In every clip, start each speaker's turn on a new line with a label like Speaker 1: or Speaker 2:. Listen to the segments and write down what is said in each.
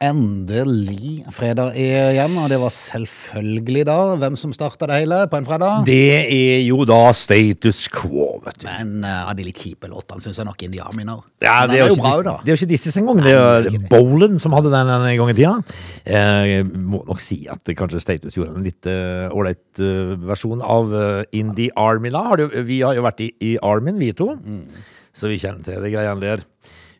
Speaker 1: Endelig fredag er igjen, og det var selvfølgelig da hvem som starta det hele på en fredag.
Speaker 2: Det er jo da status quo, vet du.
Speaker 1: Men eh, av de litt kjipe låtene syns jeg nok Indian minner.
Speaker 2: Ja,
Speaker 1: Men den er jo
Speaker 2: ikke
Speaker 1: bra,
Speaker 2: Dis-
Speaker 1: da.
Speaker 2: det er jo ikke Disses engang. Det er
Speaker 1: det er
Speaker 2: jo
Speaker 1: ikke det.
Speaker 2: Bolan som hadde den en gang i tida. Eh, Jeg må nok si at det kanskje Status gjorde en litt eh, ålreit eh, versjon av eh, Indie Army. Da. Har du, vi har jo vært i, i Armin, vi to.
Speaker 1: Mm.
Speaker 2: Så vi kjenner til det greiene der.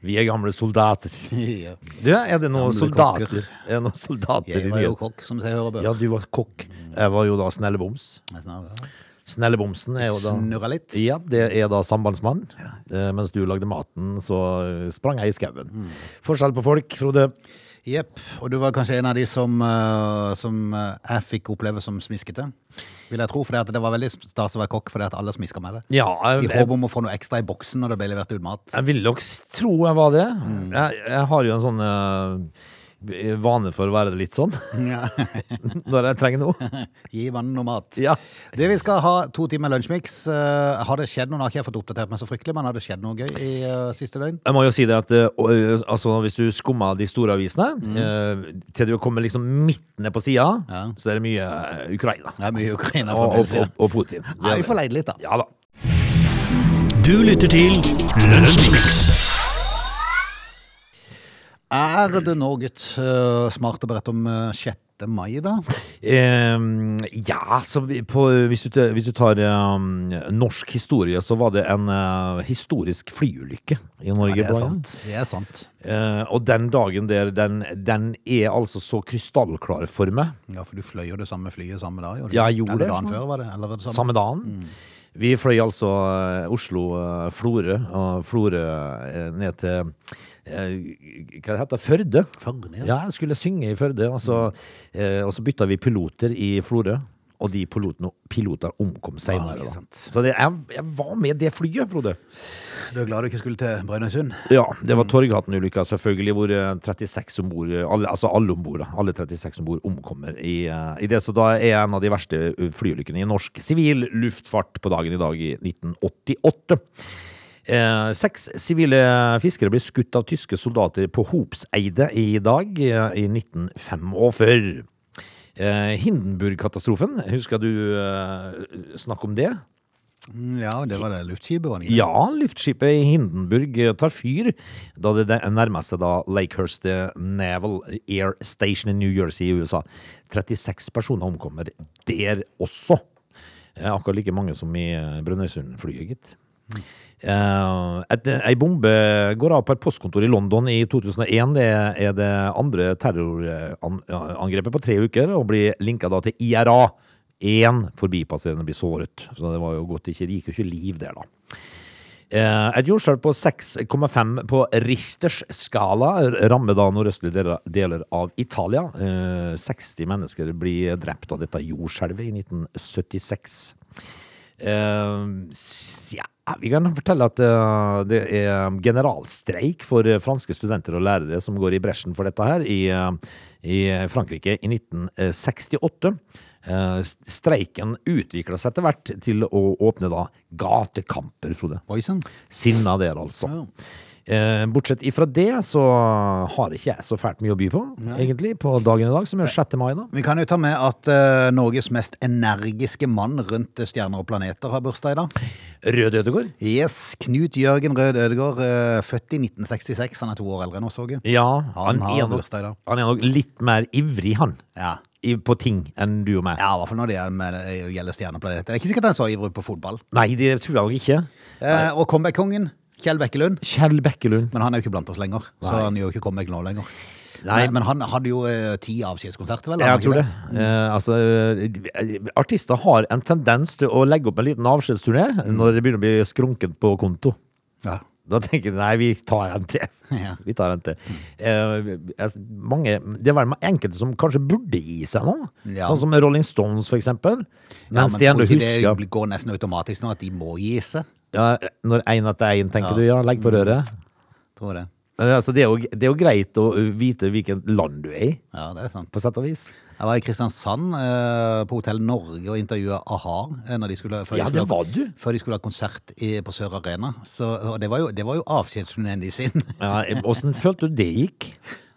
Speaker 2: Vi er gamle soldater.
Speaker 1: Ja.
Speaker 2: Du, er det noen
Speaker 1: Gamle kokker.
Speaker 2: soldater? Er det noen soldater
Speaker 1: Jeg
Speaker 2: i
Speaker 1: var jo
Speaker 2: nyhetene?
Speaker 1: kokk, som jeg hører bør.
Speaker 2: Ja, du var kokk. Jeg var jo da snelleboms.
Speaker 1: Jeg snar- ja.
Speaker 2: Snellebomsen er jo da
Speaker 1: Snurra litt.
Speaker 2: Ja, det er da sambandsmann. Eh, mens du lagde maten, så eh, sprang jeg i skauen.
Speaker 1: Mm.
Speaker 2: Forskjell på folk, Frode.
Speaker 1: Jepp. Og du var kanskje en av de som, eh, som eh, jeg fikk oppleve som smiskete, vil jeg tro. For det var veldig stas å være kokk fordi at alle smisker med det.
Speaker 2: Ja,
Speaker 1: I
Speaker 2: jeg,
Speaker 1: håp
Speaker 2: jeg,
Speaker 1: om å få noe ekstra i boksen når det ble levert ut mat.
Speaker 2: jeg ville nok s- tro jeg var det.
Speaker 1: Mm.
Speaker 2: Jeg, jeg har jo en sånn eh, vane for å være litt sånn
Speaker 1: Ja.
Speaker 2: når jeg trenger noe.
Speaker 1: Gi vann og mat.
Speaker 2: Ja.
Speaker 1: Du, vi skal ha to timer lunsjmix. Eh, har det skjedd noe? Nå har ikke jeg fått oppdatert meg så fryktelig, men har det skjedd noe gøy i eh, siste døgn?
Speaker 2: Jeg må jo si det at eh, og, eh, altså, hvis du skummer de store avisene, eh, til du kommer liksom midt ned på sida,
Speaker 1: Mm. Ja.
Speaker 2: så er det mye eh, Ukraina.
Speaker 1: Det er mye Ukraina
Speaker 2: Og, og,
Speaker 1: fremdeles. ja.
Speaker 2: og, og Putin.
Speaker 1: Ja, vi får leid litt, da.
Speaker 2: Ja da.
Speaker 3: Du lytter til Lunsjmix.
Speaker 1: Er det nå, gutt, eh, smart å berette om eh, 6. mai, da?
Speaker 2: Ehm, ja, så vi- på, hvis, du, t- hvis du tar ehm, norsk historie, så var det en eh, historisk flyulykke i Norge.
Speaker 1: Det er
Speaker 2: på den.
Speaker 1: sant. Det er sant.
Speaker 2: Eh, og den dagen der, den, den er altså så krystallklar for meg,
Speaker 1: Ja, for du fløy jo det samme flyet samme dag. gjorde du
Speaker 2: Ja,
Speaker 1: ikke?
Speaker 2: jeg gjorde
Speaker 1: Eller
Speaker 2: det,
Speaker 1: dagen
Speaker 2: sånn.
Speaker 1: før, var det? Eller var det samme? Mm.
Speaker 2: samme dagen. Vi fløy altså eh, Oslo-Florø, og Florø eh, ned til eh, Hva det heter det? Førde?
Speaker 1: Førde, ja. Mm.
Speaker 2: Ja, jeg skulle synge i Førde, og så, eh, og så bytta vi piloter i Florø. Og de pilotene, piloter omkom
Speaker 1: Ah,
Speaker 2: seinere.
Speaker 1: ikke
Speaker 2: da.
Speaker 1: sant.
Speaker 2: så det, jeg, jeg var med det flyet, Frode. Mm.
Speaker 1: Du er glad du ikke skulle til Brønnøysund?
Speaker 2: Ja, det var Torghatten-ulykka, selvfølgelig, hvor eh, 36 om bord, alle, altså alle om bord, alle 36 om bord omkommer i, eh, i det. Så da er en av de verste eh, flyulykkene i norsk sivil luftfart på dagen i dag i 1988. Eh, seks sivile fiskere ble skutt av tyske soldater på Hopseidet i dag eh, i 1945. Eh, Hindenburg-katastrofen, husker du eh, snakk om det?
Speaker 1: Mm, Ja, det var det luftskipet, var det ikke?
Speaker 2: Ja, luftskipet i Hindenburg tar fyr da det nærmer seg da Lakehurst Naval Air Station i New Jersey i USA. 36 personer omkommer der også. Eh, Akkurat like mange som i eh, Brønnøysundflyet, gitt. Eh, et- Ei bombe går av på et postkontor i London i 2001. Det er det andre terrorangrepet på tre uker, og blir linka da til IRA. Én forbipasserende blir såret. Så det var jo godt det ikke det gikk jo ikke liv der, da. Eh, Et jordskjelv på 6,5 på Richters skala rammer da nordøstlige deler- deler av Italia. Eh, 60 mennesker blir drept av dette jordskjelvet i 1976. Eh, s- ja, vi kan fortelle at eh, det er generalstreik for eh, franske studenter og lærere som går i bresjen for dette her i, eh, i Frankrike i 1968. Eh, s- Streiken utvikla seg etter hvert til å åpne da gatekamper, Frode.
Speaker 1: Boysen?
Speaker 2: Sinna der, altså. Eh, bortsett ifra det, så har ikke jeg så fælt mye å by på, egentlig, på dagen i dag, som er 6. mai, da.
Speaker 1: Vi kan jo ta med at eh, Norges mest energiske mann rundt stjerner og planeter har bursdag i dag.
Speaker 2: Rød Ødegård?
Speaker 1: Yes, Knut Jørgen Rød Ødegaard, eh, født i 1966. Han er to år eldre enn oss, Åge.
Speaker 2: Ja,
Speaker 1: Han
Speaker 2: han,
Speaker 1: har
Speaker 2: er nok,
Speaker 1: bursdag i dag.
Speaker 2: han er nok litt mer ivrig, han,
Speaker 1: Ja.
Speaker 2: i, på ting enn du og meg.
Speaker 1: ja, i hvert fall når det er med, eh, gjelder stjerneplaneter. Det er ikke sikkert han er så ivrig på fotball.
Speaker 2: Nei, det tror jeg nok ikke.
Speaker 1: Eh, og comeback-kongen, Kjell Bekkelund.
Speaker 2: Kjell Bekkelund.
Speaker 1: Men han er jo ikke blant oss lenger, så han gjør jo ikke comeback nå lenger.
Speaker 2: Nei.
Speaker 1: Men, men han hadde jo eh, ti avskjedskonserter, vel? hadde han
Speaker 2: Jeg
Speaker 1: ikke
Speaker 2: tror det. Eh, altså, eh, artister har en tendens til å legge opp en liten avskjedsturné
Speaker 1: Mm.
Speaker 2: når det begynner å bli skrunket på konto.
Speaker 1: Ja.
Speaker 2: Da tenker jeg nei, vi tar en til.
Speaker 1: Ja.
Speaker 2: Vi tar en til. Eh, altså, mange, det er vel enkelte som kanskje burde gi seg nå.
Speaker 1: Ja.
Speaker 2: Sånn som Rolling Stones, for eksempel.
Speaker 1: Ja,
Speaker 2: Mens
Speaker 1: men
Speaker 2: de
Speaker 1: tror
Speaker 2: ennå
Speaker 1: ikke
Speaker 2: husker
Speaker 1: Det går nesten automatisk nå at de må gi seg. Mm.
Speaker 2: ja, Når én etter én, tenker du, ja. Legg på røret.
Speaker 1: Tror det.
Speaker 2: Men altså, det, er jo, det er jo greit å uh, vite hvilket land du er i,
Speaker 1: Ja, det er sant.
Speaker 2: på sett og vis.
Speaker 1: Jeg var i Kristiansand eh, på Hotell Norge og intervjua a-ha eh, når de skulle, før,
Speaker 2: Ja,
Speaker 1: de skulle,
Speaker 2: det var du.
Speaker 1: før de skulle ha konsert i, på Sør Arena. Så, og det var jo, det var jo avskjedsturneen de sin.
Speaker 2: Ja, Åssen følte du det gikk?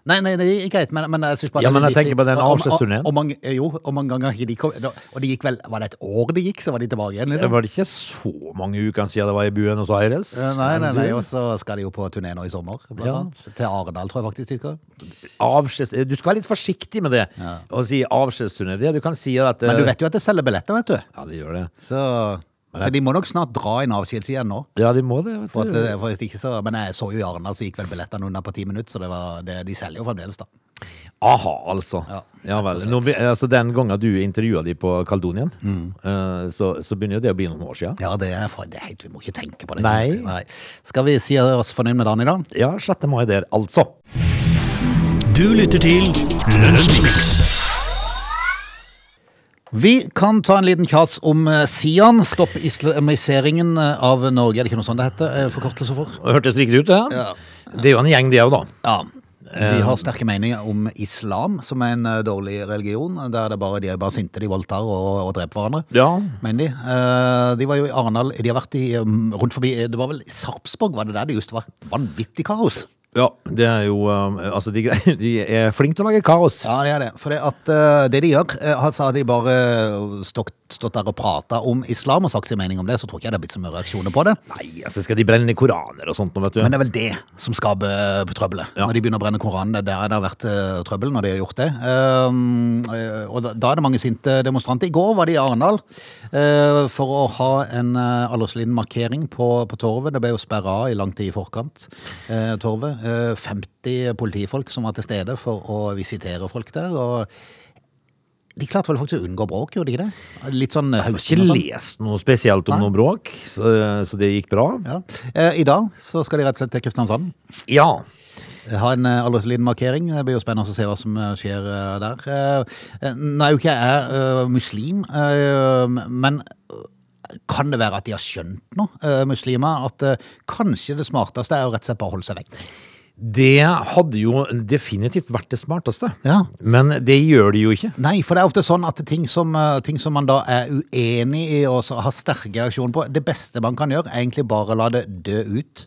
Speaker 1: Nei, nei, det gikk greit, men, men jeg synes bare
Speaker 2: Ja,
Speaker 1: det er
Speaker 2: men jeg
Speaker 1: viktig-
Speaker 2: tenker på den
Speaker 1: og- og-
Speaker 2: avskjedsturneen.
Speaker 1: og- og mange- Jo, og mange ganger ikke de kom da- Og det gikk vel, var det et år det gikk, så var de tilbake igjen,
Speaker 2: Det
Speaker 1: liksom?
Speaker 2: var ikke så mange ukene siden det var i Buenos Aires.
Speaker 1: Eh, Nei, nei,
Speaker 2: Men du-
Speaker 1: nei, og så skal de jo på turné nå i sommer, blant
Speaker 2: Ja.
Speaker 1: annet. Til Arendal, tror jeg faktisk de skal.
Speaker 2: Avskjeds... Du skal være litt forsiktig med det, å si avskjedsturné. Det du kan si er at eh,
Speaker 1: Men du vet jo at det selger billetter, vet du.
Speaker 2: Ja, de gjør det.
Speaker 1: Så, så de må nok snart dra en avskjeds igjen nå.
Speaker 2: Ja, de må det.
Speaker 1: For
Speaker 2: vet
Speaker 1: at,
Speaker 2: du.
Speaker 1: for at ikke så, men jeg så jo i Arendal, så gikk vel billettene under på ti minutter, så det var, det, de selger jo fremdeles, da.
Speaker 2: Aha, altså. Ja,
Speaker 1: Ja,
Speaker 2: vel.
Speaker 1: rett og slett.
Speaker 2: Nå, be- altså, den gangen du intervjua de på Kaldonien, eh, så, så begynner jo det å bli noen år siden.
Speaker 1: Mm. Ja, det er, for, det er helt, vi må ikke tenke på det.
Speaker 2: Nei.
Speaker 1: Skal vi si oss fornøyd med dagen i dag?
Speaker 2: Ja, 6. mai der, altså.
Speaker 3: Du lytter til Lunsjmix.
Speaker 1: Vi kan ta en liten tjats om eh, Sian. Stopp islamiseringen eh, av Norge. Er det ikke noe sånt det heter? eh, Forkortelse for?
Speaker 2: Hørtes riktig ut, det?
Speaker 1: Ja.
Speaker 2: Det er jo en gjeng, det òg, da.
Speaker 1: Ja. Eh, De har sterke meninger om islam, som er en eh, dårlig religion. Der det bare, de er bare sinte, de voldtar og, og dreper hverandre.
Speaker 2: Ja.
Speaker 1: Mener de. Eh, De var jo i Arendal. De har vært i, um, rundt forbi eh, Det var vel Sarpsborg var det der det just var vanvittig kaos?
Speaker 2: Ja, det er jo um, Altså, de, greier- de er flinke til å lage kaos.
Speaker 1: Ja, det er det. For det, at, eh, det de gjør eh, Han sa de bare stått, stått der og prata om islam og sagt sin mening om det, så tror ikke jeg det har blitt så mye reaksjoner på det.
Speaker 2: Nei, altså, skal de brenne koraner og sånt nå, vet du?
Speaker 1: Men det er vel det som skaper eh, trøbbelet.
Speaker 2: Ja.
Speaker 1: Når de begynner å brenne Koranen, det er der det har vært eh, trøbbel når de har gjort det. Ehm, eh, og da, da er det mange sinte demonstranter. I går var de i Arendal eh, for å ha en uh, aldersliten markering på, på torvet. Det ble jo sperra av i lang tid i forkant, eh, torvet. Eh, 50 politifolk som var til stede for å visitere folk der. og de klarte vel faktisk å unngå bråk, gjorde de ikke det? Litt sånn
Speaker 2: ikke
Speaker 1: hausting og sånn.
Speaker 2: lest noe spesielt om noe bråk, så, så det gikk bra.
Speaker 1: Ja. Eh, I dag så skal de rett og slett til Kristiansand.
Speaker 2: Ja.
Speaker 1: Ha en eh, aldersliten markering. Det blir jo spennende å se hva som eh, skjer eh, der. Eh, eh, Nå er jo ikke jeg eh, muslim, eh, men eh, kan det være at de har skjønt noe, eh, muslimer? At eh, kanskje det smarteste er å rett og slett bare holde seg vekk?
Speaker 2: Det hadde jo definitivt vært det smarteste.
Speaker 1: Ja.
Speaker 2: Men det gjør de jo ikke.
Speaker 1: Nei, for det er ofte sånn at ting som, eh, ting som man da er uenig i og så har sterke reaksjoner på, det beste man kan gjøre, er egentlig bare la det dø ut.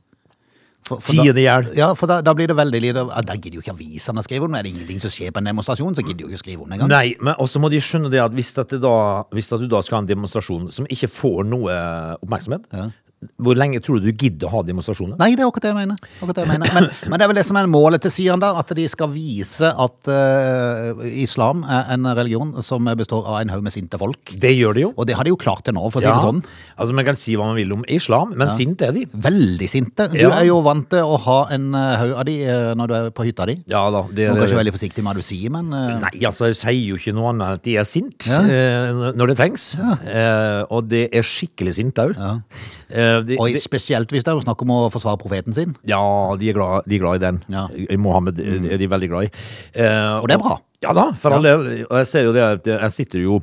Speaker 1: For, for da-
Speaker 2: Tie det i hjel.
Speaker 1: Ja, for da, da blir det veldig lite ja, Da gidder jo ikke avisene å skrive om det. Er det ingenting som skjer på en demonstrasjon, så gidder jo ikke å skrive om det engang.
Speaker 2: Nei, men også må de skjønne det at hvis, at det da, hvis at du da skal ha en demonstrasjon som ikke får noe oppmerksomhet, hvor lenge tror du du gidder å ha demonstrasjoner?
Speaker 1: Nei, det er akkurat det jeg mener. Akkurat det jeg mener. Men, men det er vel det som er målet til Sian, da. At de skal vise at eh, islam er en religion som består av en haug med sinte folk.
Speaker 2: Det gjør de jo.
Speaker 1: Og det har de jo klart til nå, for å si
Speaker 2: Ja.
Speaker 1: det sånn.
Speaker 2: Altså, man kan si hva man vil om islam, men sint er de.
Speaker 1: Veldig sinte. Du
Speaker 2: Ja.
Speaker 1: er jo vant til å ha en eh, haug av de eh, når du er på hytta di.
Speaker 2: Ja da. Det,
Speaker 1: Du må kanskje være veldig forsiktig med hva du sier, men eh,
Speaker 2: Nei, altså, jeg sier jo ikke noe annet enn at de er sint
Speaker 1: Ja.
Speaker 2: eh, når det trengs. Eh, og det er skikkelig sint òg. Ja. Eh, de,
Speaker 1: Og
Speaker 2: de,
Speaker 1: spesielt hvis det er jo snakk om å forsvare profeten sin.
Speaker 2: ja, de er, glad, de er glad i den.
Speaker 1: Ja. Mm.
Speaker 2: I Mohammed eh, er de veldig glad i. Eh,
Speaker 1: Og det er bra.
Speaker 2: Ja da, for all del. Og jeg ser jo det at jeg sitter jo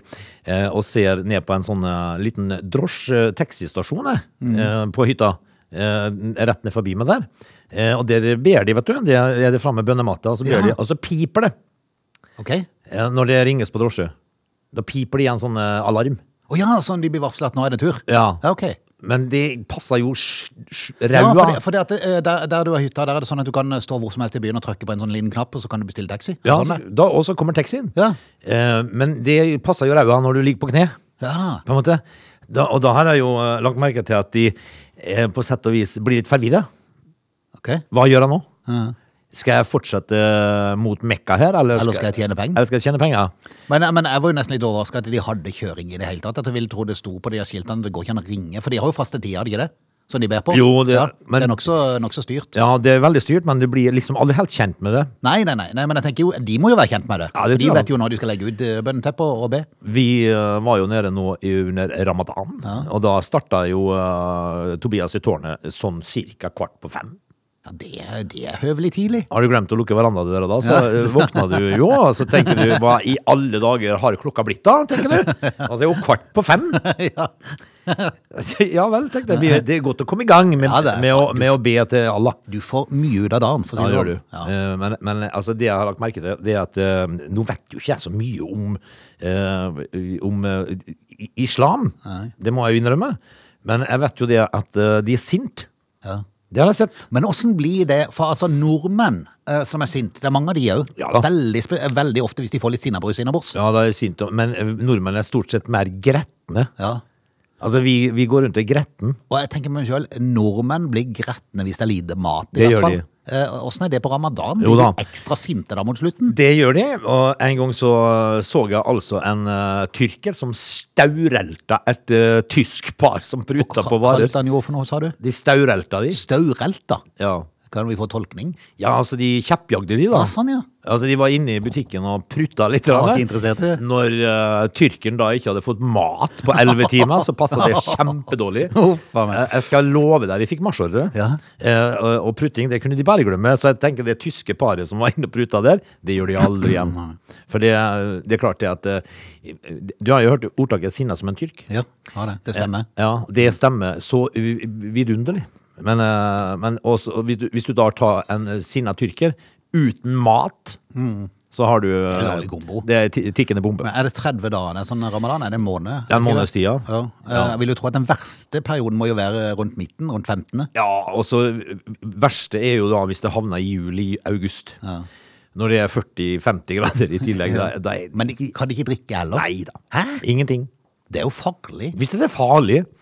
Speaker 2: eh, og ser ned på en sånn eh, liten drosje-taxistasjon jeg,
Speaker 1: Mm.
Speaker 2: eh, på hytta. Eh, rett ned forbi meg der. Eh, og der ber de, vet du. Der er det framme bønnematta, og så ber
Speaker 1: Ja.
Speaker 2: de, og så piper det.
Speaker 1: Ok? Å
Speaker 2: Eh, Når det ringes på drosje, da piper det igjen sånn eh, alarm.
Speaker 1: ja, sånn de blir varslet at nå er det tur?
Speaker 2: Ja.
Speaker 1: ja ok.
Speaker 2: Men det passer jo sj- sj-
Speaker 1: Ja, for,
Speaker 2: ræva.
Speaker 1: det, for det at, eh, der, der du har hytta, der er det sånn at du kan eh, stå hvor som helst i byen og trykke på en sånn liten knapp, og så kan du bestille taxi.
Speaker 2: Ja,
Speaker 1: sånn,
Speaker 2: så- da, og så kommer taxien.
Speaker 1: Ja.
Speaker 2: Eh, men det passer jo ræva når du ligger på kne,
Speaker 1: ja.
Speaker 2: på en måte. Da, og da har jeg jo eh, lagt merke til at de eh, på sett og vis blir litt forvirra.
Speaker 1: ok.
Speaker 2: Hva gjør jeg nå?
Speaker 1: Ja.
Speaker 2: Skal jeg fortsette eh, mot Mekka her, eller
Speaker 1: Eller skal jeg tjene penger?
Speaker 2: Eller skal jeg tjene penger?
Speaker 1: Men, men jeg var jo nesten litt overraska at de hadde kjøring i det hele tatt. At jeg ville tro det sto på de her skiltene, det går ikke an å ringe, for de har jo faste tider, har de ikke det? Som de ber på?
Speaker 2: Jo, det-
Speaker 1: ja,
Speaker 2: men-
Speaker 1: det er nokså nok så styrt.
Speaker 2: Ja, det er veldig styrt, men du blir liksom aldri helt kjent med det.
Speaker 1: Nei, nei, nei, nei, men jeg tenker jo, de må jo være kjent med det.
Speaker 2: Ja, det
Speaker 1: For de
Speaker 2: tror jeg.
Speaker 1: vet jo når de skal legge ut eh, bønneteppet og be.
Speaker 2: Vi eh, var jo nede nå i- under ramadan, og da starta jo eh, Tobias i tårnet sånn cirka kvart på fem.
Speaker 1: Ja, det, er- det er høvelig tidlig.
Speaker 2: Har du glemt å lukke verandadøra da, så eh, våkna du jo, og så tenker du hva i alle dager har klokka blitt da, tenker du? Altså jo kvart på fem.
Speaker 1: ja.
Speaker 2: ja vel, tenk deg. vi- Det er godt å komme i gang med,
Speaker 1: Ja, det er
Speaker 2: med, å, med å be til Allah.
Speaker 1: Du får mye ut av dagen, for å
Speaker 2: Ja,
Speaker 1: si
Speaker 2: det
Speaker 1: det
Speaker 2: gjør du.
Speaker 1: sånn. Ja.
Speaker 2: Eh, Men, men altså, det jeg har lagt merke til, det er at eh, nå vet jo ikke jeg så mye om, eh, om eh, i- islam.
Speaker 1: Nei.
Speaker 2: Det må jeg jo innrømme. Men jeg vet jo det at eh, de er sint.
Speaker 1: Ja.
Speaker 2: Det har jeg sett.
Speaker 1: Men åssen blir det For altså nordmenn eh, som er sint, det er mange av de òg.
Speaker 2: Ja da.
Speaker 1: veldig, spe- veldig ofte hvis de får litt sinnabrus innabords.
Speaker 2: Ja, det er sint. og- Men eh, nordmenn er stort sett mer gretne.
Speaker 1: Ja.
Speaker 2: Altså, vi, vi går rundt og er gretten.
Speaker 1: Og jeg tenker meg selv, nordmenn blir gretne hvis det er lite mat. i
Speaker 2: Det
Speaker 1: hvert
Speaker 2: gjør
Speaker 1: fall.
Speaker 2: de.
Speaker 1: Eh, Åssen er det på ramadan?
Speaker 2: Jo
Speaker 1: Blir
Speaker 2: da.
Speaker 1: de ekstra sinte da mot slutten?
Speaker 2: Det gjør de, og en gang så så jeg altså en eh, tyrker som staurelta et eh, tysk par som pruta på varer.
Speaker 1: Kalte han jo for noe, sa du?
Speaker 2: De staurelta de.
Speaker 1: Staurelta.
Speaker 2: Ja.
Speaker 1: Kan vi få tolkning?
Speaker 2: ja, altså de kjeppjagde de, da.
Speaker 1: Ja, sånn, ja.
Speaker 2: Altså De var inne i butikken og prutta litt.
Speaker 1: var
Speaker 2: grann.
Speaker 1: ikke interessert i det.
Speaker 2: Når eh, tyrkeren da ikke hadde fått mat på elleve timer, så passa det kjempedårlig.
Speaker 1: Huff a meg.
Speaker 2: Eh, Jeg skal love deg, de fikk marsjordre.
Speaker 1: Ja.
Speaker 2: Eh, og, og prutting det kunne de bare glemme. Så jeg tenker det tyske paret som var inne og pruta der, det gjør de aldri igjen. For det, det er klart det at eh, Du har jo hørt ordtaket 'sinna som en tyrk'.
Speaker 1: Ja, ja det, det stemmer.
Speaker 2: Ja, det stemmer så u- vidunderlig. Men, eh, men også, og hvis, du, hvis du da tar en eh, sinna tyrker uten mat, så har du eh,
Speaker 1: Det er dårlig kombo.
Speaker 2: Det er ti- tikkende bombe.
Speaker 1: Men er det 30 dager? Det er sånn ramadan? Er det en måned?
Speaker 2: Det er en
Speaker 1: Ikke
Speaker 2: måneds tid, ja.
Speaker 1: Ja. Eh, Jeg vil jo tro at den verste perioden må jo være rundt midten, rundt 15.
Speaker 2: Ja, og så eh, verste er jo da hvis det havner i juli-august. Når det er 40-50 grader i tillegg. Da, da er,
Speaker 1: Men de kan de ikke drikke heller?
Speaker 2: nei da.
Speaker 1: Hæ?
Speaker 2: Ingenting.
Speaker 1: Det er jo farlig.
Speaker 2: Hvis det er farlig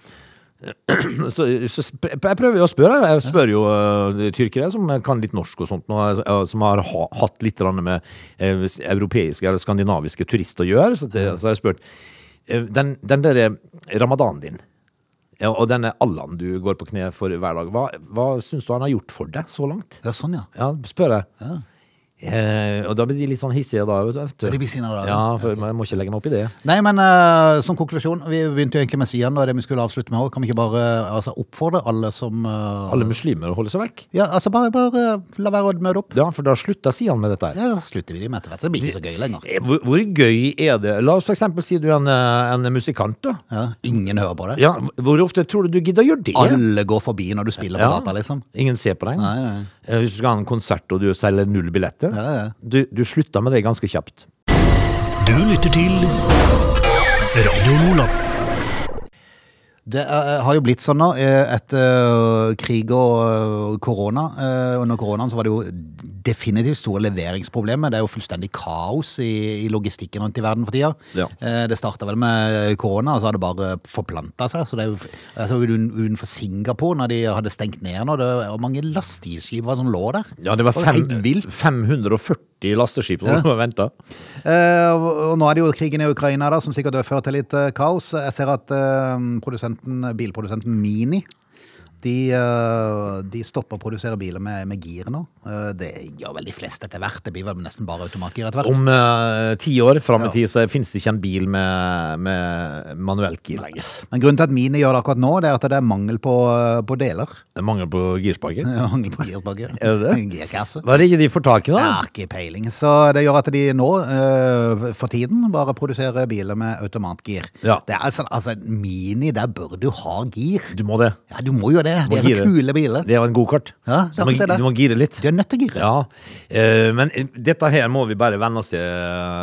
Speaker 2: så, så sp- Jeg prøver jo å spørre. Jeg spør jo eh, tyrkere som kan litt norsk og sånt, nå, eh, som har ha, hatt litt grann med eh, s- europeiske eller skandinaviske turister å gjøre. Så, det, så har jeg spurt eh, den, den der ramadanen din, ja, og denne Allan du går på kne for hver dag, hva, hva syns du han har gjort for deg så langt?
Speaker 1: Ja, sånn, ja.
Speaker 2: Ja, spør jeg. Eh, og da blir de litt sånn hissige da. Vet du.
Speaker 1: Ja, de blir sinna da, ja.
Speaker 2: Ja, for jeg må ikke legge meg opp i det.
Speaker 1: Nei, men eh, som konklusjon, vi begynte jo egentlig med Sian, og det vi skulle avslutte med òg. Kan vi ikke bare eh, altså, oppfordre alle som eh,
Speaker 2: Alle muslimer holder seg vekk.
Speaker 1: Ja, altså bare, bare eh, la være å møte opp.
Speaker 2: Ja, for da slutta Sian med dette her.
Speaker 1: Ja, Da slutter vi dem etter hvert. så Det blir ikke så gøy lenger.
Speaker 2: Eh, Hvor, hvor gøy er det? La oss for eksempel si du er en, eh, en musikant, da.
Speaker 1: Ja, ingen hører på det.
Speaker 2: Ja, hvor ofte tror du du gidder å gjøre det?
Speaker 1: Alle går forbi når du spiller på
Speaker 2: Ja.
Speaker 1: data, liksom.
Speaker 2: Ingen ser på deg.
Speaker 1: Nei, nei.
Speaker 2: Eh, Hvis du skal ha en konsert og du selger null billetter,
Speaker 1: Ja, ja.
Speaker 2: Du, du slutter med det ganske kjapt.
Speaker 3: Du lytter til Radio Lola.
Speaker 1: Det er, har jo blitt sånn nå, eh, etter krig og eh, korona. Eh, Under koronaen så var det jo definitivt store leveringsproblemer. Det er jo fullstendig kaos i, i logistikken rundt i verden for tida.
Speaker 2: Ja.
Speaker 1: Eh, Det starta vel med eh, korona, og så har det bare forplanta seg. Så det er jo, jeg så jo un- utenfor Singapore, når de hadde stengt ned nå, det var mange lastebilskip var som lå der.
Speaker 2: Ja, det var
Speaker 1: Og
Speaker 2: fem,
Speaker 1: helt vilt.
Speaker 2: 540 lasteskip som venta.
Speaker 1: Eh, og og nå er det jo krigen i Ukraina da, som sikkert har ført til litt eh, kaos. Jeg ser at eh, produsenten, bilprodusenten Mini de, eh, de stopper å produsere biler med, med gir nå. Eh, det gjør vel de fleste etter hvert. Det blir vel nesten bare automatgir etter hvert.
Speaker 2: Om eh, ti år fram i
Speaker 1: Ja.
Speaker 2: tid så finnes det ikke en bil med, med manuelt gir lenger.
Speaker 1: Men grunnen til at Mini gjør det akkurat nå, det er at det er mangel på, eh, på deler.
Speaker 2: Det er Mangel på girspaker.
Speaker 1: mangel på girspakke.
Speaker 2: Er det det?
Speaker 1: Girkasse.
Speaker 2: Var det ikke de får tak i, da?
Speaker 1: Jeg har ikke peiling. Så det gjør at de nå, eh, for tiden, bare produserer biler med automatgir.
Speaker 2: Ja.
Speaker 1: Det er sånn, altså, en Mini, der bør du ha gir.
Speaker 2: Du må det.
Speaker 1: Ja, du må jo det.
Speaker 2: Må
Speaker 1: Det er så
Speaker 2: gire.
Speaker 1: kule biler.
Speaker 2: Det er jo en gokart.
Speaker 1: Ja,
Speaker 2: du, må-
Speaker 1: sant det er det.
Speaker 2: du må gire litt.
Speaker 1: Du er nødt til å gire.
Speaker 2: Ja, eh, men dette her må vi bare venne oss til,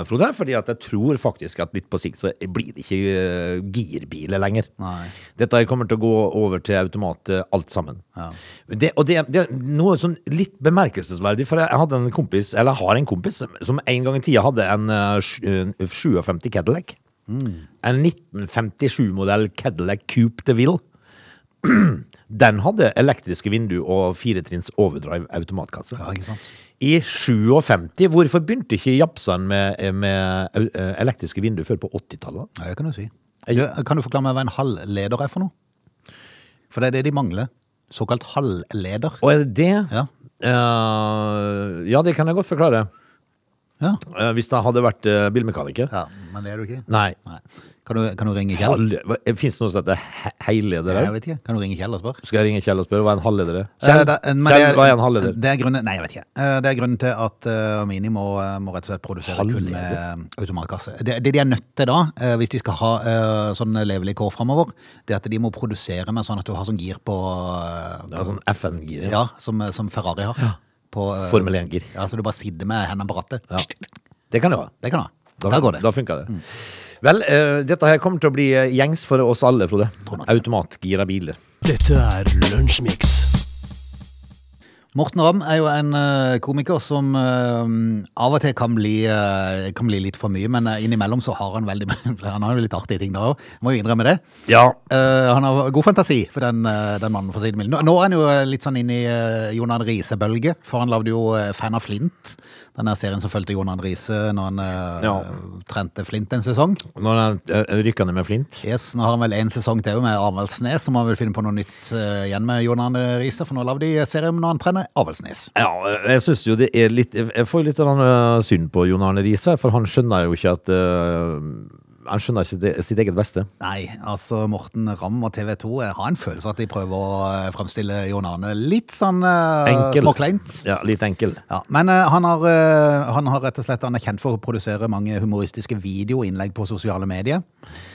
Speaker 2: Frode, fordi at jeg tror faktisk at litt på sikt så blir det ikke eh, girbiler lenger.
Speaker 1: Nei.
Speaker 2: Dette her kommer til å gå over til automat eh, alt sammen. Det, og det, det er noe sånn litt bemerkelsesverdig, for jeg hadde en kompis, eller jeg har en kompis, som- som en gang i tida hadde en eh, sj- en 57 Cadillac. En 1957-modell Cadillac Coupe de Ville. Den hadde elektriske vindu og firetrinns overdrive automatkasse.
Speaker 1: Ja, ikke sant?
Speaker 2: I 57, hvorfor begynte ikke japsene med, med eh, elektriske vinduer før på 80-tallet?
Speaker 1: Nei, det kan du si. Du, kan du forklare meg hva en halvleder er for noe? For det er det de mangler. Såkalt halvleder.
Speaker 2: Og er det det?
Speaker 1: Ja.
Speaker 2: Eh, ja, det kan jeg godt forklare.
Speaker 1: Ja.
Speaker 2: Eh, hvis jeg hadde vært eh, bilmekaniker.
Speaker 1: ja, men det er du ikke.
Speaker 2: Nei.
Speaker 1: Nei. Kan du, kan du ringe Kjell?
Speaker 2: Fins eh, det noe som heter he- heileder
Speaker 1: Jeg
Speaker 2: òg?
Speaker 1: vet ikke. Kan du ringe Kjell og spørre?
Speaker 2: Skal jeg ringe Kjell og spørre hva er en halvleder er?
Speaker 1: Eh,
Speaker 2: Kjell,
Speaker 1: det- eh, men
Speaker 2: Kjell,
Speaker 1: det-
Speaker 2: hva er en halvleder?
Speaker 1: Det er grunnen, nei, jeg vet ikke. Eh, Det er grunnen til at eh, Mini må, eh, må rett og slett produsere kun
Speaker 2: Halvleder?
Speaker 1: med automatkasse. Det, det de er nødt til da, eh, hvis de skal ha eh, sånn levelig kår framover, det er at de må produsere med sånn at du har sånn gir på eh,
Speaker 2: Det er sånn FN-gir.
Speaker 1: Ja, som, eh, som Ferrari har. På, eh,
Speaker 2: Formel 1-gir.
Speaker 1: Ja, så du bare sitter med hendene på rattet.
Speaker 2: Ja. Det kan det være.
Speaker 1: Det kan du ha. Da går det. Mm.
Speaker 2: Da funker det. Vel, eh, dette her kommer til å bli eh, gjengs for oss alle, Frode. Automatgira biler.
Speaker 3: Dette er Lunsjmix.
Speaker 1: Morten Ramm er jo en eh, komiker som eh, av og til kan bli, eh, kan bli litt for mye, men eh, innimellom så har han veldig Han har jo litt artige ting da òg, må jo innrømme det.
Speaker 2: Ja.
Speaker 1: Eh, han har god fantasi for den, eh, den mannen, for å si det mildt. Nå, nå er han jo eh, litt sånn inne i uh, Jon Arne Riise-bølge, for han lagde jo eh, Fan av Flint. Den der serien som fulgte Jon Arne Riise når han eh,
Speaker 2: Ja.
Speaker 1: trente Flint en sesong.
Speaker 2: Når han eh, rykker ned med flint.
Speaker 1: Yes, Nå har han vel en sesong til med Avaldsnes, så må han vel finne på noe nytt eh, igjen med Jon Arne Riise, for nå lagde de eh, serie om når han trener Avaldsnes.
Speaker 2: Ja, eh, jeg synes jo det er litt Jeg får litt grann, eh, synd på Jon Arne Riise, for han skjønner jo ikke at eh, Han skjønner ikke det, sitt eget beste.
Speaker 1: Nei, altså Morten Ramm og TV 2 Jeg eh, har en følelse at de prøver å eh, fremstille Jon Arne litt sånn eh,
Speaker 2: Enkel.
Speaker 1: småkleint.
Speaker 2: Ja, litt enkel.
Speaker 1: Ja, men eh, han, har, eh, han har rett og slett Han er kjent for å produsere mange humoristiske videoinnlegg på sosiale medier.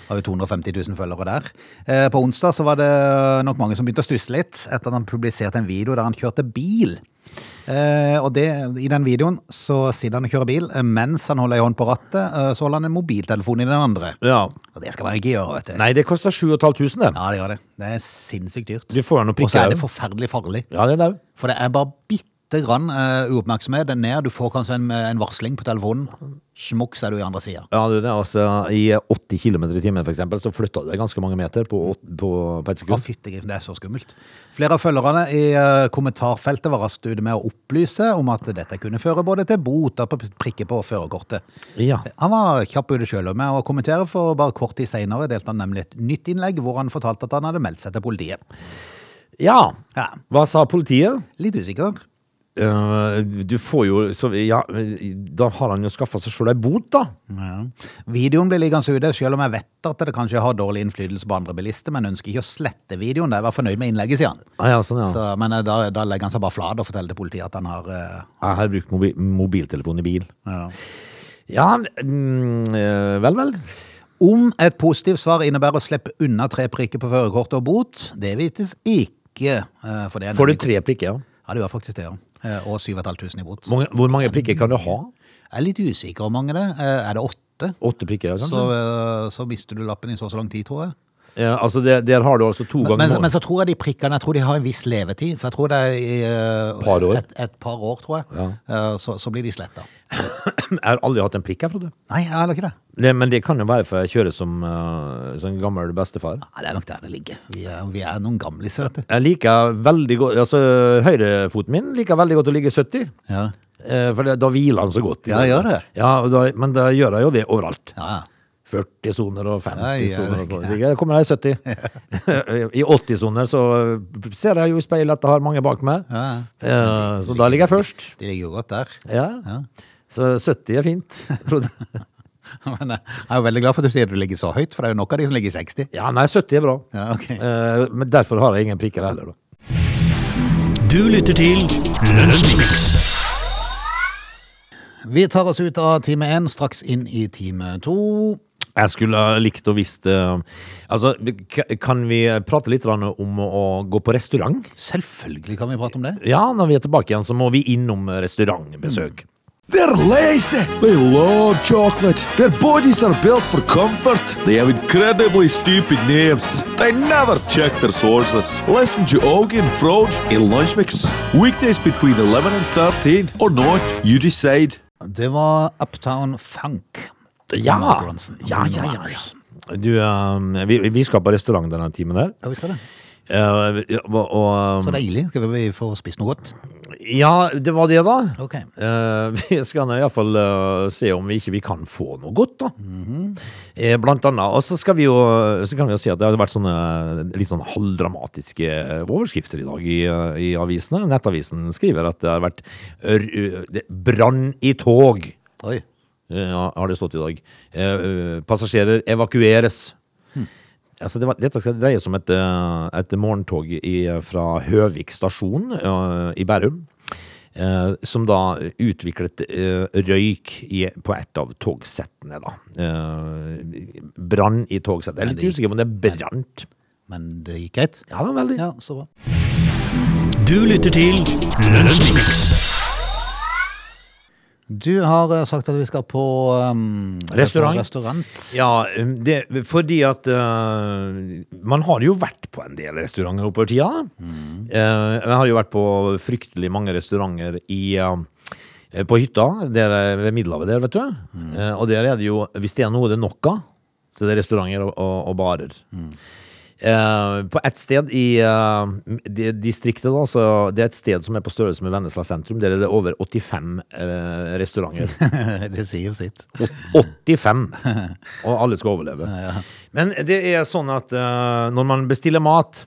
Speaker 1: Har jo 250 000 følgere der. Eh, På onsdag så var det nok mange som begynte å stusse litt etter at han publiserte en video der han kjørte bil. Eh, og det, I den videoen så sitter han og kjører bil. eh, Mens han holder ei hånd på rattet, eh, så holder han en mobiltelefon i den andre.
Speaker 2: Ja.
Speaker 1: Og det skal man ikke gjøre, vet du.
Speaker 2: Nei, det koster 7500, det.
Speaker 1: Ja, det gjør det. Det er sinnssykt dyrt.
Speaker 2: Du får jo noen
Speaker 1: Og så
Speaker 2: prikker,
Speaker 1: er det
Speaker 2: jo.
Speaker 1: forferdelig farlig.
Speaker 2: Ja, det er det òg.
Speaker 1: For det er bare bitte grann eh, uoppmerksomhet ned. Du får kanskje en, en varsling på telefonen. Smukk, så er du i andre sida.
Speaker 2: Ja, du, det er altså I 80 km i timen, for eksempel, så flytta du deg ganske mange meter på, åt- på, på et
Speaker 1: Å,
Speaker 2: sekund.
Speaker 1: fyttegriffen, det er så skummelt. Flere av følgerne i eh, kommentarfeltet var raskt ute med å opplyse om at dette kunne føre både til bot og prikker på førerkortet.
Speaker 2: Ja.
Speaker 1: Han var kjapp ute sjøl med å kommentere, for bare kort tid seinere delte han nemlig et nytt innlegg hvor han fortalte at han hadde meldt seg til politiet.
Speaker 2: ja.
Speaker 1: Ja,
Speaker 2: Hva sa politiet?
Speaker 1: Litt usikker.
Speaker 2: Eh, du får jo så, Ja, da har han jo skaffa seg sjøl ei bot, da.
Speaker 1: Ja. Videoen blir liggende ute, selv om jeg vet at det kanskje har dårlig innflytelse på andre bilister, men ønsker ikke å slette videoen da jeg var fornøyd med innlegget, sier han.
Speaker 2: Ah, ja, sånn, ja.
Speaker 1: Så, men eh, da, da legger han seg bare flat og forteller til politiet at han har eh,
Speaker 2: Jeg har brukt mobi mobiltelefon i bil.
Speaker 1: ja.
Speaker 2: Ja, mm, eh, vel, vel.
Speaker 1: Om et positivt svar innebærer å slippe unna tre prikker på førerkortet og bot, det vites ikke. eh, For det er
Speaker 2: Får du
Speaker 1: nemlig-
Speaker 2: tre prikker? ja?
Speaker 1: Ja, det gjør faktisk det, ja. Eh, Og 7500 i bot.
Speaker 2: Mange, hvor mange prikker kan du ha?
Speaker 1: Jeg er litt usikker om mange det. Eh, Er det åtte,
Speaker 2: Åtte prikker, ja,
Speaker 1: så,
Speaker 2: kanskje?
Speaker 1: eh, så mister du lappen i så og så lang tid, tror jeg.
Speaker 2: Ja, altså, der, der har du altså to ganger
Speaker 1: Men,
Speaker 2: måneden.
Speaker 1: men så tror jeg de prikkene Jeg tror de har en viss levetid. For jeg tror det er i, eh,
Speaker 2: Par år.
Speaker 1: Et, et par år, tror jeg. Eh, Så, så blir de sletta.
Speaker 2: Jeg har aldri hatt en prikk, jeg, Frode.
Speaker 1: Nei, jeg har ikke det.
Speaker 2: Det- Men det kan jo være for jeg kjører som, eh, som gammel bestefar.
Speaker 1: Nei, det er nok der det ligger. Vi er, vi er noen gamle søte.
Speaker 2: Jeg liker veldig godt Altså, høyrefoten min liker veldig godt å ligge 70.
Speaker 1: Ja,
Speaker 2: eh, For det, da hviler han så godt.
Speaker 1: Ja, gjør det.
Speaker 2: Ja, og da, men da gjør jeg jo det overalt.
Speaker 1: ja. ja.
Speaker 2: 40-soner og
Speaker 1: Ja, jeg gjør
Speaker 2: 50-soner og
Speaker 1: ikke
Speaker 2: sånn. Jeg kommer her i 70. I 80-soner så ser jeg jo i speilet at jeg har mange bak meg.
Speaker 1: Ja,
Speaker 2: Eh, Så da ligger jeg først.
Speaker 1: De ligger jo godt der.
Speaker 2: Ja. Så 70 er fint. Frode.
Speaker 1: Men eh, jeg er jo veldig glad for at du sier at du ligger så høyt, for det er jo nok av de som ligger i 60.
Speaker 2: Ja, nei, 70 er bra.
Speaker 1: Ja, ok.
Speaker 2: Eh, Men derfor har jeg ingen prikker heller, da.
Speaker 3: Du lytter til Lunsjmix.
Speaker 1: Vi tar oss ut av time én, straks inn i time to.
Speaker 2: Jeg skulle ha likt å visst eh, Altså, k- kan vi prate litt grann om å gå på restaurant?
Speaker 1: Selvfølgelig kan vi prate om det.
Speaker 2: Ja, når vi er tilbake igjen, så må vi innom restaurantbesøk.
Speaker 4: They're lazy. They love chocolate. Their bodies are built for comfort. They have incredibly stupid names. They never check their sources. Listen to Augie and Frode in Lunch Mix. Weekdays between 11 and 13 or not, you decide.
Speaker 1: Det var Uptown Funk.
Speaker 2: Ja!
Speaker 1: Mark Ronson.
Speaker 2: Ja, ja, ja, ja. Du, eh, vi, vi skal på restaurant denne timen der.
Speaker 1: Ja, vi skal det.
Speaker 2: Eh, og, og
Speaker 1: Så deilig. Skal vi få spist noe godt?
Speaker 2: Ja, det var det, da.
Speaker 1: Ok.
Speaker 2: Eh, vi skal nå iallfall uh, se om vi ikke vi kan få noe godt, da. Eh, blant annet. Og så skal vi jo eh, så kan vi jo si at det har vært sånne litt sånn halvdramatiske eh, overskrifter i dag i, eh, i avisene. Nettavisen skriver at det har vært r- eh, det- brann i tog.
Speaker 1: Oi.
Speaker 2: eh, har det stått i dag. Eh, eh, Passasjerer evakueres. Altså, det var, dette skal dreie seg om et, eh, et morgentog i, fra Høvik stasjon eh, i Bærum. eh, som da utviklet eh, røyk i, på et av togsettene, da. Eh, brann i togsettet. Jeg er litt usikker på om det brant.
Speaker 1: Men det gikk greit.
Speaker 2: Ja, det var veldig.
Speaker 1: Ja, så bra.
Speaker 3: Du lytter til Lunsjmix.
Speaker 1: Du har eh, sagt at vi skal på um,
Speaker 2: Restaurant.
Speaker 1: på restaurant.
Speaker 2: Ja, um, det, fordi at øh, man har jo vært på en del restauranter oppover tida. Eh, jeg har jo vært på fryktelig mange restauranter i, eh, på hytta der, eh, ved Middelhavet der, vet du. Eh, og der er det jo, hvis det er noe det er nok av, så det er restauranter og, og, og barer. Eh, på et sted i eh, det distriktet, da, så det er et sted som er på størrelse med Vennesla sentrum, der er det over 85 eh, restauranter.
Speaker 1: det sier jo sitt.
Speaker 2: 85, og alle skal overleve. Men det er sånn at eh, når man bestiller mat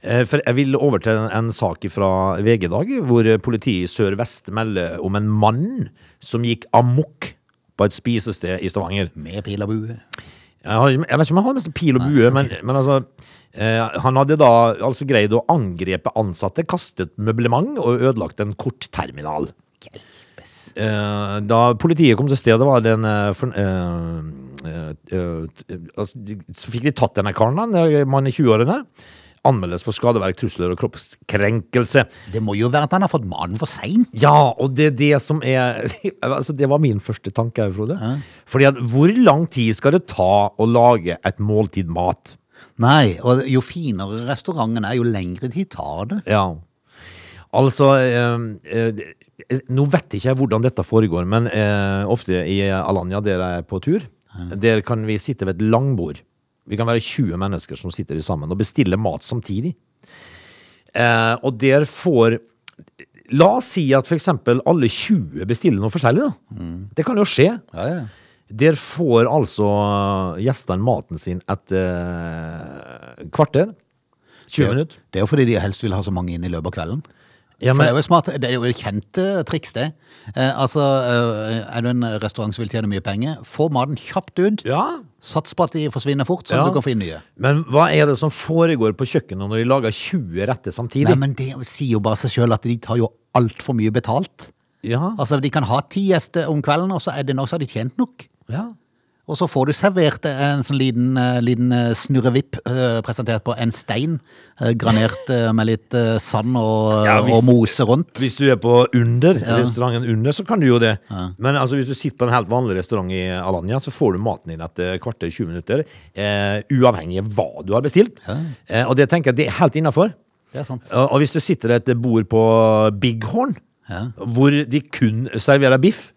Speaker 2: eh, For jeg vil over til en, en sak fra VG i dag, hvor eh, politiet i Sør-Vest melder om en mann som gikk amok på et spisested i Stavanger.
Speaker 1: Med pil og bue.
Speaker 2: Jeg, har, jeg vet ikke om han har mest pil og bue, men, men altså eh, Han hadde da altså greid å angrepe ansatte, kastet møblement og ødelagt en kortterminal. Eh, da politiet kom til stedet, var det en eh, forn- eh, eh, eh, t- altså, de- Så fikk de tatt denne karen, da, en, eh, mann i 20-årene. Anmeldes for skadeverk, trusler og kroppskrenkelse.
Speaker 1: Det må jo være at han har fått maten for seint.
Speaker 2: Ja, og det er det som er altså, Det var min første tanke, her, Frode. Fordi at hvor lang tid skal det ta å lage et måltid mat?
Speaker 1: Nei, og jo finere restauranten er, jo lengre tid tar det.
Speaker 2: Ja. Altså eh, eh, Nå vet ikke jeg hvordan dette foregår, men eh, ofte i Alanya, der jeg er på tur, der kan vi sitte ved et langbord. Vi kan være 20 mennesker som sitter sammen og bestiller mat samtidig. Eh, og der får La oss si at f.eks. alle 20 bestiller noe forskjellig. da.
Speaker 1: Mm.
Speaker 2: Det kan jo skje.
Speaker 1: Ja, ja.
Speaker 2: Der får altså gjestene maten sin etter kvarter. 20 minutter.
Speaker 1: Det er jo fordi de helst vil ha så mange inn i løpet av kvelden.
Speaker 2: Ja,
Speaker 1: For
Speaker 2: men-
Speaker 1: det er jo smart, det er jo et kjent eh, triks, det. Eh, altså, eh, er du en restaurant som vil tjene mye penger, få maten kjapt ut.
Speaker 2: ja.
Speaker 1: Sats på at de forsvinner fort, så
Speaker 2: Ja.
Speaker 1: du kan få inn nye.
Speaker 2: Men hva er det som foregår på kjøkkenet når de lager 20 retter samtidig?
Speaker 1: Nei, men det sier jo bare seg sjøl at de tar jo altfor mye betalt.
Speaker 2: ja,
Speaker 1: Altså, De kan ha ti gjester om kvelden, og så er det nok, så har de tjent nok.
Speaker 2: ja.
Speaker 1: Og så får du servert en sånn liten, eh, liten eh, snurrevipp eh, presentert på en stein, eh, granert eh, med litt eh, sand og, eh,
Speaker 2: Ja, hvis-
Speaker 1: og mose rundt.
Speaker 2: Hvis du er på under, restauranten under, så kan du jo det. Men altså, hvis du sitter på en helt vanlig restaurant i Alanya, så får du maten din etter kvarter 20 minutter, eh, uavhengig av hva du har bestilt. Eh, og det tenker jeg det er helt innafor.
Speaker 1: Det er sant.
Speaker 2: Og og hvis du sitter ved et bord på Bighorn,
Speaker 1: Ja.
Speaker 2: hvor de kun serverer biff,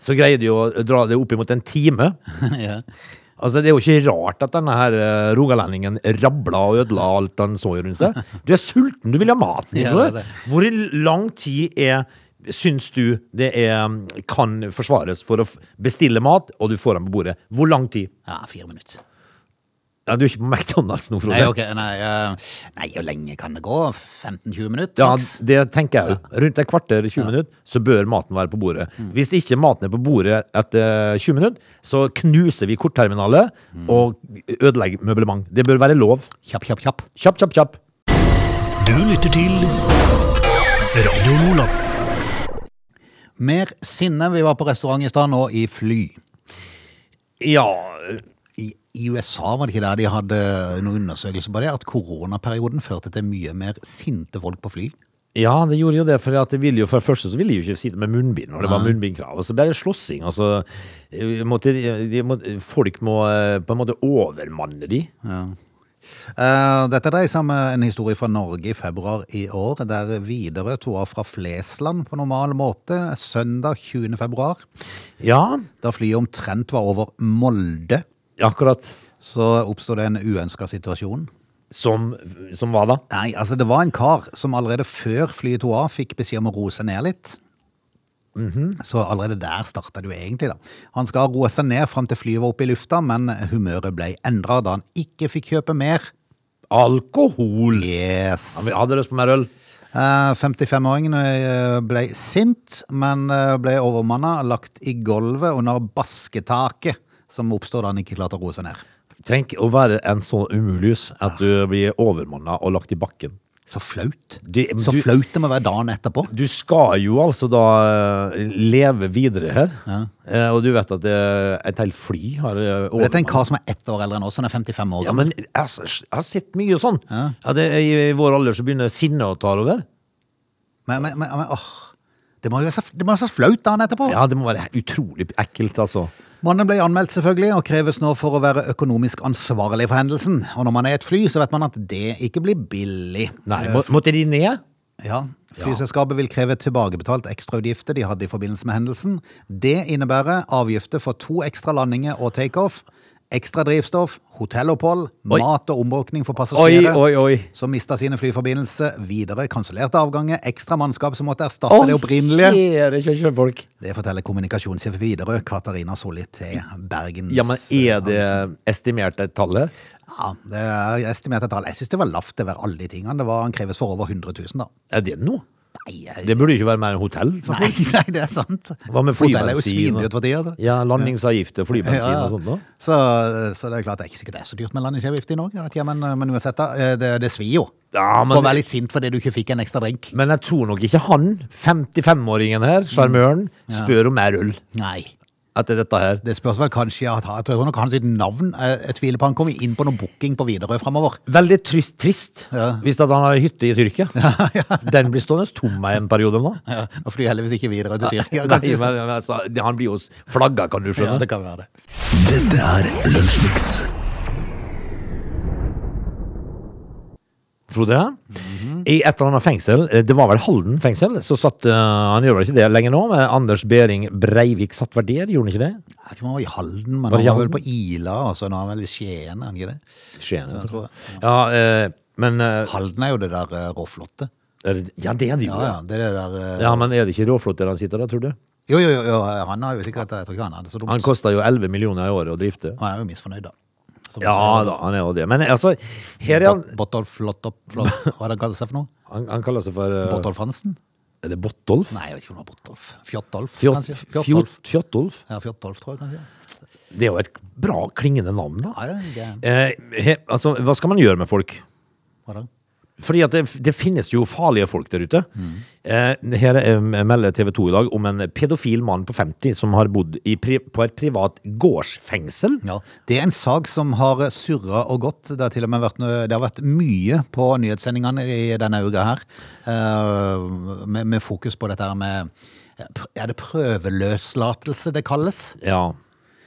Speaker 2: så greier de å dra det opp imot en time.
Speaker 1: ja.
Speaker 2: Altså, Det er jo ikke rart at denne her eh, rogalendingen rabla og ødela alt han så rundt seg. Du er sulten, du vil ha mat.
Speaker 1: Ja,
Speaker 2: Frode.
Speaker 1: det er det.
Speaker 2: Hvor lang tid er Syns du det er, mm, kan forsvares for å f- bestille mat, og du får den på bordet? Hvor lang tid?
Speaker 1: ja, fire minutter.
Speaker 2: Ja, Du er ikke på McDonald's nå, Frode.
Speaker 1: Nei, ok, nei, eh, nei, hvor lenge kan det gå? 15-20 minutter?
Speaker 2: Ja,
Speaker 1: maks?
Speaker 2: det tenker jeg jo. Rundt et kvarter, 20 minutter, så bør maten være på bordet.
Speaker 1: Mm.
Speaker 2: Hvis ikke maten er på bordet etter 20 minutter, så knuser vi kortterminalet
Speaker 1: Mm.
Speaker 2: og ødelegger møblement. Det bør være lov.
Speaker 1: Kjapp, kjapp, kjapp.
Speaker 2: Kjapp, kjapp, kjapp.
Speaker 3: Du lytter til Radio Nordland.
Speaker 1: Mer sinne. Vi var på restaurant i stad, nå i fly.
Speaker 2: Ja,
Speaker 1: I, I USA var det ikke der de hadde noen undersøkelser på det, at koronaperioden førte til mye mer sinte folk på fly.
Speaker 2: Ja, det gjorde jo det, for at det ville jo, for det første så ville de jo ikke sitte med munnbind når det var munnbindkrav, og så ble det slåssing, og så eh, måtte, de- de må, folk må eh, på en måte overmanne de.
Speaker 1: Eh, Dette dreier seg om eh, en historie fra Norge i februar i år, der Widerøe tog av fra Flesland på normal måte søndag 20. februar,
Speaker 2: Ja,
Speaker 1: da flyet omtrent var over Molde.
Speaker 2: akkurat
Speaker 1: Så oppstod det en uønska situasjon.
Speaker 2: som, som var da.
Speaker 1: Nei, altså det var en kar som allerede før flyet tog av fikk beskjed om å roe seg ned litt. Så allerede der starta det jo egentlig, da. Han skal roe seg ned fram til flyet var oppe i lufta, men humøret ble endra da han ikke fikk kjøpe mer.
Speaker 2: Alkohol!
Speaker 1: Yes.
Speaker 2: Han hadde lyst på mer øl.
Speaker 1: Eh, 55-åringen eh, ble sint, men eh, ble overmanna, lagt i gulvet under basketaket, som oppstod da han ikke klarte å roe seg ned.
Speaker 2: Tenk å være en så umulus at du blir overmanna og lagt i bakken.
Speaker 1: Så flaut.
Speaker 2: Det- men
Speaker 1: Så
Speaker 2: du-
Speaker 1: flaut det må være dagen etterpå.
Speaker 2: Du skal jo altså da eh, leve videre her, Eh, og du vet at eh, et helt fly har eh,
Speaker 1: Men Dette er en
Speaker 2: overmanna.
Speaker 1: kar som er ett år eldre enn oss, han er 55 år
Speaker 2: Ja,
Speaker 1: gammel.
Speaker 2: men jeg, har s- jeg har sett mye sånn. Ja. det er, I vår alder så begynner sinnet å ta over.
Speaker 1: Men, men, men, men åh, det må jo være så, det må være så flaut dagen etterpå.
Speaker 2: Ja, det må være utrolig ekkelt, altså.
Speaker 1: Mannen ble anmeldt selvfølgelig, og kreves nå for å være økonomisk ansvarlig for hendelsen. Og når man er i et fly, så vet man at det ikke blir billig. Eh,
Speaker 2: Nei, må, måtte de ned?
Speaker 1: Ja, Flyselskapet vil kreve tilbakebetalt ekstrautgifter de hadde i forbindelse med hendelsen. Det innebærer avgifter for to ekstra landinger og takeoff, ekstra drivstoff, hotellopphold,
Speaker 2: Oi.
Speaker 1: mat og omvåkning for
Speaker 2: Oi,
Speaker 1: passasjerer
Speaker 2: oi, oi.
Speaker 1: som mista sine flyforbindelser, videre kansellerte avganger, ekstra mannskap som måtte erstatte
Speaker 2: Å,
Speaker 1: det opprinnelige.
Speaker 2: kjære kjøkkenfolk.
Speaker 1: Det forteller kommunikasjonssjef Widerøe, Katarina Solli til Bergens eh,
Speaker 2: Ja, men er det
Speaker 1: altså.
Speaker 2: estimert et tall her?
Speaker 1: Ja, det er estimert et tall. Jeg syns det var lavt over alle de tingene. Det var, han kreves for over 100 000, da.
Speaker 2: Er det noe?
Speaker 1: Nei, jeg,
Speaker 2: Det burde jo ikke være mer enn hotell. for
Speaker 1: nei, nei, det er sant.
Speaker 2: Hva med
Speaker 1: Hotellet er jo
Speaker 2: flybensin og-
Speaker 1: svindyrt for tida.
Speaker 2: Ja, landingsavgifter, flybensin
Speaker 1: Ja, ja.
Speaker 2: og sånt da.
Speaker 1: Så, så det er klart det er ikke sikkert det er så dyrt med landingsavgift i Norge. vet jeg, Men, men uansett, da, eh, det, det svir jo.
Speaker 2: Ja,
Speaker 1: For å være
Speaker 2: men,
Speaker 1: litt sint fordi du ikke fikk en ekstra drink.
Speaker 2: men jeg tror nok ikke han, 55-åringen her,
Speaker 1: Mm.
Speaker 2: sjarmøren, spør om mer øl
Speaker 1: Nei.
Speaker 2: etter dette her.
Speaker 1: Det spørs vel kanskje at Jeg tror nok hans sitt navn eh, Jeg tviler på han kommer inn på noe booking på Widerøe framover.
Speaker 2: Veldig trist, trist
Speaker 1: Ja.
Speaker 2: hvis at han har hytte i Tyrkia. Den blir stående tom i en periode nå.
Speaker 1: Ja, nå flyr jeg heldigvis ikke videre til Tyrkia.
Speaker 2: Nei,
Speaker 1: kanskje.
Speaker 2: men, altså, han blir jo s- flagga, kan du
Speaker 1: Ja,
Speaker 2: skjønne.
Speaker 1: det kan være det.
Speaker 3: Dette er Lunsjmix.
Speaker 2: Frode, i et eller annet fengsel, eh, det var vel Halden fengsel, så satt eh, Han gjør vel ikke det lenger nå, men Anders Behring Breivik satt vel der, gjorde han ikke det?
Speaker 1: Jeg tror han var i Halden, men
Speaker 2: Var
Speaker 1: han
Speaker 2: det i
Speaker 1: var vel
Speaker 2: Halden?
Speaker 1: på Ila, og så nå er han vel i Skien, er han ikke det?
Speaker 2: Skien, jeg
Speaker 1: tror jeg.
Speaker 2: Ja, eh, men eh,
Speaker 1: Halden er jo det der eh, råflotte.
Speaker 2: er det- Ja, det er det jo.
Speaker 1: Ja,
Speaker 2: Ja,
Speaker 1: ja, det er det der eh,
Speaker 2: ja, men er det ikke råflott der han sitter, da, tror du?
Speaker 1: Jo, jo, jo, jo, han har jo sikkert Jeg tror ikke han hadde så dumt.
Speaker 2: Han koster jo 11 millioner i året å drifte.
Speaker 1: Han er jo misfornøyd, da. Som du
Speaker 2: Ja
Speaker 1: sier.
Speaker 2: da, han er jo det. Men altså, her er han
Speaker 1: Botolf Flottop Flott Hva er det han kaller seg for noe?
Speaker 2: Han, han kaller seg for eh,
Speaker 1: Botolf Hansen?
Speaker 2: Er det Bottolf?
Speaker 1: Nei, jeg vet ikke om det var Botolf. Fjottolf,
Speaker 2: Fjott-
Speaker 1: kanskje? Fjottolf.
Speaker 2: Fjott- Fjottolf?
Speaker 1: Ja, Fjottolf, tror jeg kanskje.
Speaker 2: Det er jo et bra klingende navn, da.
Speaker 1: Ja, det er gæren.
Speaker 2: Eh, he, altså, hva skal man gjøre med folk?
Speaker 1: Hva da?
Speaker 2: Fordi at det, det finnes jo farlige folk der ute. Eh, her eh, melder TV 2 i dag om en pedofil mann på 50 som har bodd i pri, på et privat gårdsfengsel.
Speaker 1: Ja, Det er en sak som har surra og gått. Det har til og med vært, noe- det har vært mye på nyhetssendingene i denne uka her, eh, med, med fokus på dette her med Er det prøveløslatelse det kalles?
Speaker 2: Ja.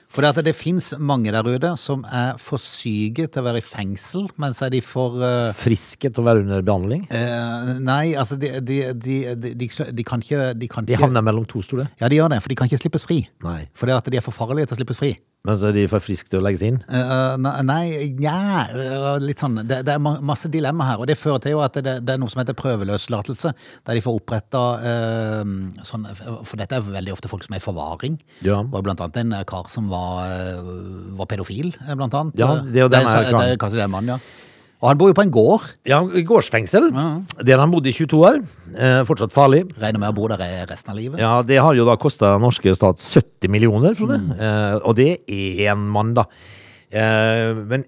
Speaker 1: For det, at det finnes mange der ute som er for syke til å være i fengsel, men så er de for eh,
Speaker 2: Friske til å være under behandling.
Speaker 1: eh, Nei, altså, de, de, de, de, de, de kan ikke De, kan
Speaker 2: De
Speaker 1: ikke,
Speaker 2: havner mellom to stoler.
Speaker 1: ja, de gjør det, for de kan ikke slippes fri.
Speaker 2: Nei.
Speaker 1: Fordi at de er for farlige til å slippes fri.
Speaker 2: Men så er de for friske til å legges inn.
Speaker 1: Eh, ne- nei, nja eh, Litt sånn. Det, det er ma- masse dilemma her. Og det fører til jo at det, det er noe som heter prøveløslatelse. Der de får oppretta eh, sånn For dette er veldig ofte folk som er i forvaring.
Speaker 2: Ja.
Speaker 1: Det var blant annet en eh, kar som var, eh, var pedofil, eh, blant annet.
Speaker 2: Ja, det er jo denne
Speaker 1: så-
Speaker 2: her karen.
Speaker 1: det er Kanskje det er en mann, ja. Og han bor jo på en gård.
Speaker 2: Ja, gårdsfengsel. Der han bodde i 22 år. Eh, fortsatt farlig.
Speaker 1: Regner med å bo der i resten av livet.
Speaker 2: Ja, det har jo da kosta norske stat 70 millioner, Frode.
Speaker 1: Mm.
Speaker 2: Eh, og det er én mann, da. Eh, men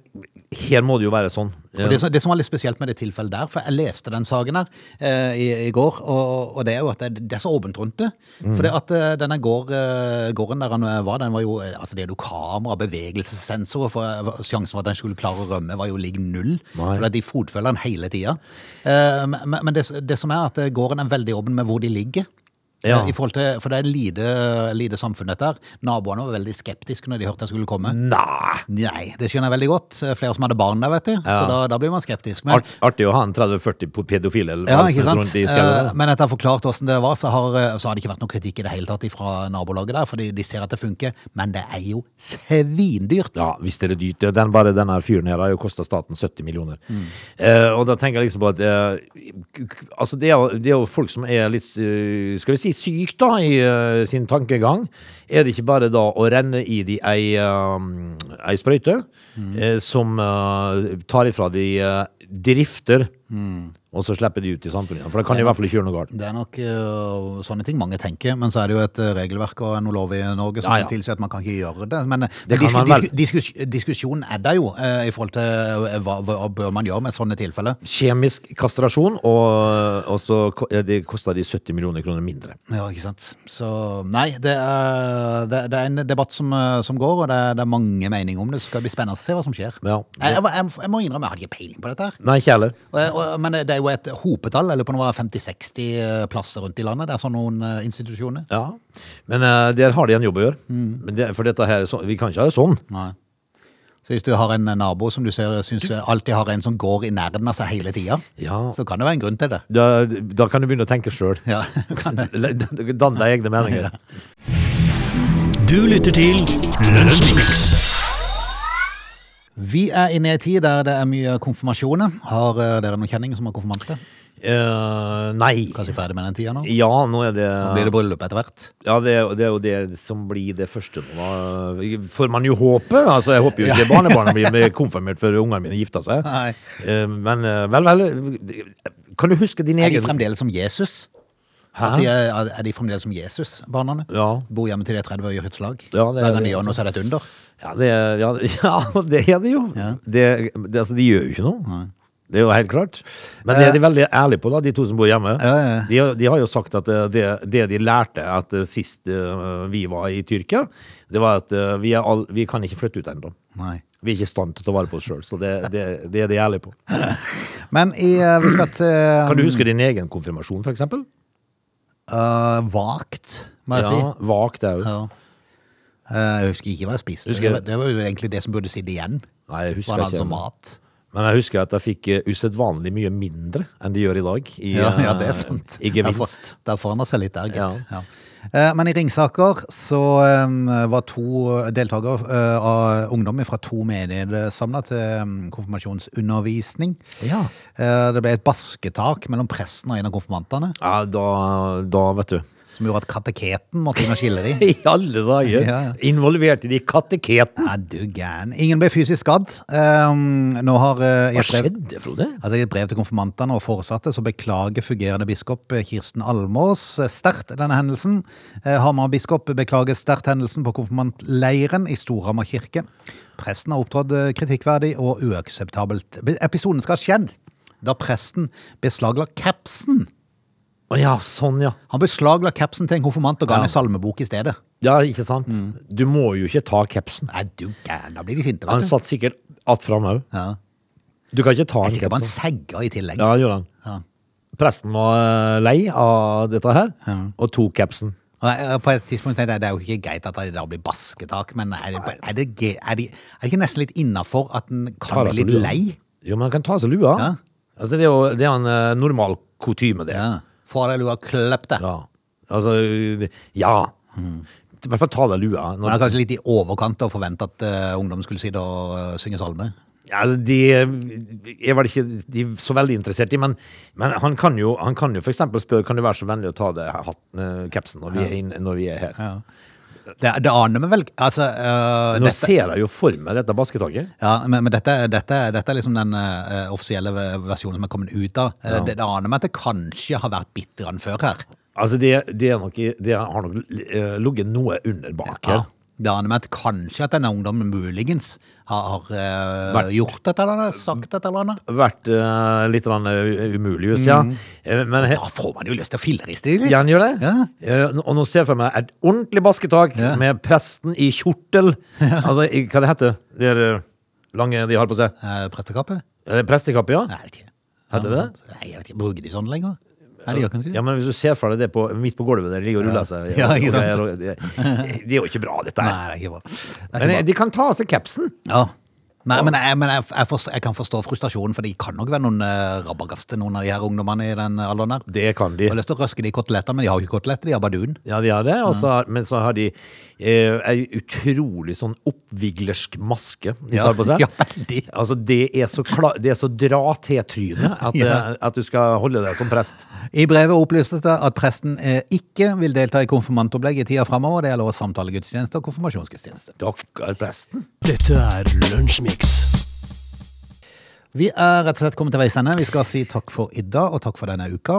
Speaker 2: her må det jo være sånn.
Speaker 1: Og det, som- det som var litt spesielt med det tilfellet der, for jeg leste den saken her eh, i, i går, og, og det er jo at det, det er så åpent rundt det.
Speaker 2: Mm.
Speaker 1: For det at eh, denne gård, eh, gården der han eh, var, den var jo eh, Altså, det er jo kamera, bevegelsessensorer, for eh, sjansen for at han skulle klare å rømme, var jo lik null.
Speaker 2: Nei.
Speaker 1: For at de fotfølger han hele tida. Eh, men men det, det som er, at eh, gården er veldig åpen med hvor de ligger.
Speaker 2: Ja.
Speaker 1: I forhold til, for det er lite, lite samfunn, dette her. Naboene var veldig skeptiske når de hørte jeg skulle komme.
Speaker 2: Eh, Nei!
Speaker 1: Nei, det skjønner jeg veldig godt. Flere som hadde barn der, vet du. Så
Speaker 2: Ja.
Speaker 1: da, da blir man skeptisk. Men,
Speaker 2: Art, artig å ha en 30-40 på pedofile eller
Speaker 1: ja,
Speaker 2: bare
Speaker 1: ikke
Speaker 2: snes
Speaker 1: sant?
Speaker 2: rundt i skauen.
Speaker 1: Eh,
Speaker 2: da.
Speaker 1: Men etter å ha forklart hvordan det var, så har, eh, så har det ikke vært noe kritikk i det hele tatt fra nabolaget der, for de, de ser at det funker. Men det er jo svindyrt.
Speaker 2: Ja, hvis det er dyrt. ja. Den, bare denne fyren her har jo kosta staten 70 millioner. Eh, og da tenker jeg liksom på at eh, k- k- Altså, det er, jo- det er jo folk som er litt eh, Skal vi si syk, da, i eh, sin tankegang. Er det ikke bare da å renne i de ei, eh, ei sprøyte eh, som eh, tar ifra de eh, drifter Og så slipper de ut i samfunnet igjen, for det kan i hvert fall ikke gjøre noe galt.
Speaker 1: Det er nok øh, sånne ting mange tenker, men så er det jo et øh, regelverk og noe lov i Norge som
Speaker 2: Ja, ja.
Speaker 1: tilsier at man kan ikke gjøre det. Men, øh, men
Speaker 2: kan
Speaker 1: disku,
Speaker 2: man vel.
Speaker 1: disku, diskus, diskusjonen er der jo øh, i forhold til øh, hva, hva bør man gjøre med sånne tilfeller.
Speaker 2: Kjemisk kastrasjon, og, og så ko- eh, det koster de 70 millioner kroner mindre.
Speaker 1: Ja, ikke sant? Så nei, det er, det, det er en debatt som, øh, som går, og det er, det er mange meninger om det, så skal det bli spennende å se hva som skjer.
Speaker 2: Ja.
Speaker 1: Jeg, jeg, må- jeg, må- jeg må innrømme, jeg hadde ikke peiling på dette her.
Speaker 2: Nei, ikke heller.
Speaker 1: Og, jeg- og, men det er jo et hopetall, eller på noe 50-60 øh, plasser rundt i landet, det er sånn noen øh, institusjoner.
Speaker 2: Ja. Men eh, der har de en jobb å gjøre.
Speaker 1: Mm.
Speaker 2: Men det, for dette her, er så, vi kan ikke ha det sånn.
Speaker 1: Nei. Så hvis du har en nabo som du ser, syns alltid har en som går i nærheten av seg hele tida,
Speaker 2: Ja.
Speaker 1: så kan det være en grunn til det.
Speaker 2: Da, da kan du begynne å tenke sjøl.
Speaker 1: Ja, kan det.
Speaker 2: Dann deg egne meninger.
Speaker 3: Du lytter til Lunsjmix.
Speaker 1: Vi er inne i ei tid der det er mye konfirmasjoner. Har eh, dere noen kjenninger som er konfirmanter?
Speaker 2: Eh, nei.
Speaker 1: Kanskje ferdig med den tida nå?
Speaker 2: Ja, nå er det
Speaker 1: Blir det bryllup etter hvert?
Speaker 2: Ja, det, er- det er jo det som blir det første nå. da. Får man jo håpe. Altså, jeg håper jo ikke barnebarna blir konfirmert før ungene mine gifter seg.
Speaker 1: Nei.
Speaker 2: Eh, men eh, vel, vel. Kan du huske din
Speaker 1: Er de
Speaker 2: egen
Speaker 1: fremdeles som Jesus? At de
Speaker 2: Hæ?
Speaker 1: er, er de fremdeles som Jesus, barna?
Speaker 2: Ja.
Speaker 1: Bor hjemme til de er 30 og gjør hyttelag?
Speaker 2: Ja, det er
Speaker 1: Hver gang de
Speaker 2: det.
Speaker 1: gjør noe, så er det et under?
Speaker 2: Ja, det, er- ja, ja, det er det jo. Det, det, altså, de gjør jo ikke noe. Det er jo helt klart. Men det er de veldig ærlige på, da, de to som bor hjemme.
Speaker 1: Eh. Ja, ja.
Speaker 2: De, har- de har jo sagt at eh, det, det de lærte at eh, sist eh, vi var i Tyrkia, det var at eh, vi, er all, vi kan ikke flytte ut ennå.
Speaker 1: Nei.
Speaker 2: Vi er ikke i stand til å ta vare på oss sjøl, så det, det, det er de ærlige på.
Speaker 1: Men i, eh, vi skal til
Speaker 2: Kan du huske din egen konfirmasjon, for eksempel?
Speaker 1: eh, vagt, må jeg si.
Speaker 2: Ja, vagt er jo.
Speaker 1: Ja. Eh, Jeg husker ikke hva jeg spiste.
Speaker 2: Husker-
Speaker 1: Det, var, det var jo egentlig det som burde sitte igjen.
Speaker 2: Nei,
Speaker 1: Hva
Speaker 2: jeg
Speaker 1: han
Speaker 2: husker
Speaker 1: hadde
Speaker 2: ikke.
Speaker 1: som mat.
Speaker 2: Men jeg husker at jeg fikk eh, usedvanlig mye mindre enn de gjør i dag. I,
Speaker 1: Ja, ja,
Speaker 2: eh,
Speaker 1: det er sant.
Speaker 2: I gevinst.
Speaker 1: Der forandra seg litt der, gitt.
Speaker 2: Ja.
Speaker 1: Ja. Eh, Men i Ringsaker så eh, var to deltakere eh, av ungdom fra to menigheter samla til eh, konfirmasjonsundervisning.
Speaker 2: Ja.
Speaker 1: Eh, Det ble et basketak mellom presten og en av konfirmantene,
Speaker 2: Ja, da, da vet du.
Speaker 1: som gjorde at kateketen måtte inn og skille dem.
Speaker 2: I alle dager!
Speaker 1: Ja, ja.
Speaker 2: Involverte de kateketen?
Speaker 1: Er du gæren? Ingen ble fysisk skadd. Eh, Nå har eh,
Speaker 2: Hva
Speaker 1: jeg skrevet-
Speaker 2: skjedde, Frode?
Speaker 1: Altså I et brev til konfirmantene og foresatte så beklager fungerende biskop eh, Kirsten Almås eh, sterkt denne hendelsen. Eh, Hamar biskop beklager sterkt hendelsen på konfirmantleiren i Storhamar kirke. Presten har opptrådt eh, kritikkverdig og uakseptabelt. Be- Episoden skal ha skjedd da presten beslagla capsen.
Speaker 2: Å ja, sånn ja.
Speaker 1: Han beslagla capsen til en konfirmant og ga
Speaker 2: Ja.
Speaker 1: han en salmebok i stedet.
Speaker 2: Ja, ikke sant?
Speaker 1: Mm.
Speaker 2: Du må jo ikke ta capsen.
Speaker 1: Er du gæren? Da blir de sinte,
Speaker 2: Han
Speaker 1: vet du.
Speaker 2: satt sikkert att fram òg.
Speaker 1: Ja.
Speaker 2: Du kan ikke ta
Speaker 1: Jeg er
Speaker 2: en
Speaker 1: sikker på han
Speaker 2: caps.
Speaker 1: segga i tillegg.
Speaker 2: Ja, han gjorde han.
Speaker 1: Ja.
Speaker 2: Presten var eh, lei av dette her, og tok capsen.
Speaker 1: Og jeg- eh, På et tidspunkt tenkte jeg det er jo ikke greit at det da blir basketak, men er det, er det, ge- er det, er det ikke nesten litt innafor at en kan
Speaker 2: Tar av
Speaker 1: bli
Speaker 2: seg
Speaker 1: litt
Speaker 2: lua.
Speaker 1: lei?
Speaker 2: Jo, men han kan ta av seg lua.
Speaker 1: Ja.
Speaker 2: Altså, det er jo det er en eh, normal kutyme, det.
Speaker 1: Ja. Få av deg lua, kløpp deg.
Speaker 2: Ja. Altså, ja.
Speaker 1: Mm.
Speaker 2: I hvert fall ta av deg lua.
Speaker 1: Men
Speaker 2: Når,
Speaker 1: det er kanskje litt i overkant å forvente at eh, ungdom skulle sitte og eh, synge salmer.
Speaker 2: altså, de eh, er vel ikke de er så veldig interessert i, men, men han kan jo, han kan jo for eksempel spørre, kan du være så vennlig å ta av deg hatten, eh, kapsen når vi er, inn, når vi er her?
Speaker 1: Det, det aner vi vel altså, eh,
Speaker 2: Nå
Speaker 1: dette,
Speaker 2: ser jeg jo for meg dette basketaket.
Speaker 1: ja, Men, men dette, dette, dette er liksom den eh, offisielle versjonen som er kommet ut av. Eh, Det, det aner meg at det kanskje har vært bitte grann før her.
Speaker 2: Altså, det, det, er nok, i- det har nok eh, ligget noe under bak her.
Speaker 1: Ja. Det aner meg at kanskje at denne ungdommen muligens har, har eh,
Speaker 2: Vært-
Speaker 1: gjort et eller annet, sagt et eller annet.
Speaker 2: Vært eh, litt grann, eh, umulig, ja. Eh, Men he-
Speaker 1: Da får man jo lyst til å filleriste dem litt.
Speaker 2: Ja, han gjør det.
Speaker 1: Mm. Ja.
Speaker 2: Eh, og nå ser jeg for meg et ordentlig basketak
Speaker 1: Ja.
Speaker 2: med presten i kjortel. Altså, i, hva det heter det? er eh, lange de har på seg.
Speaker 1: Eh, prestekappe?
Speaker 2: Eh, Prestekappe, ja.
Speaker 1: Nei, jeg vet ikke.
Speaker 2: Heter det det?
Speaker 1: Nei, jeg vet ikke. Bruker de sånn lenger? Nei, de gjør kanskje
Speaker 2: Ja,
Speaker 1: det.
Speaker 2: men hvis du ser for deg det på, midt på gulvet der ligger og ruller seg
Speaker 1: Ja,
Speaker 2: og- og
Speaker 1: ikke sant?
Speaker 2: greier, og det, det er jo ikke bra, dette
Speaker 1: Nei,
Speaker 2: her.
Speaker 1: det er ikke bra. Det er
Speaker 2: Men
Speaker 1: ikke
Speaker 2: eh, de kan ta av seg capsen.
Speaker 1: bra. Ja. Nei, men, jeg, men jeg, jeg, forstår, jeg kan forstå frustrasjonen, for de kan nok være noen eh, rabagaster, noen av de her ungdommene i den alderen her.
Speaker 2: Det kan de.
Speaker 1: Jeg har lyst til å røske de i koteletter, men de har jo ikke koteletter, de har badun.
Speaker 2: Ja, de har det. og så har- men så har de eh, ei utrolig sånn oppviglersk maske de
Speaker 1: Ja,
Speaker 2: tar på seg.
Speaker 1: ja, veldig.
Speaker 2: Altså, det er så, kla- det er så dra til trynet at,
Speaker 1: Ja.
Speaker 2: eh, at du skal holde deg som prest.
Speaker 1: I brevet opplyste det at presten eh, ikke vil delta i konfirmantopplegg i tida framover. Det gjelder også samtalegudstjeneste og konfirmasjonsgudstjeneste.
Speaker 2: Dere er presten.
Speaker 3: Dette er Lunsjmix.
Speaker 1: Vi er rett og slett kommet til veis ende. Vi skal si takk for i dag, og takk for denne uka.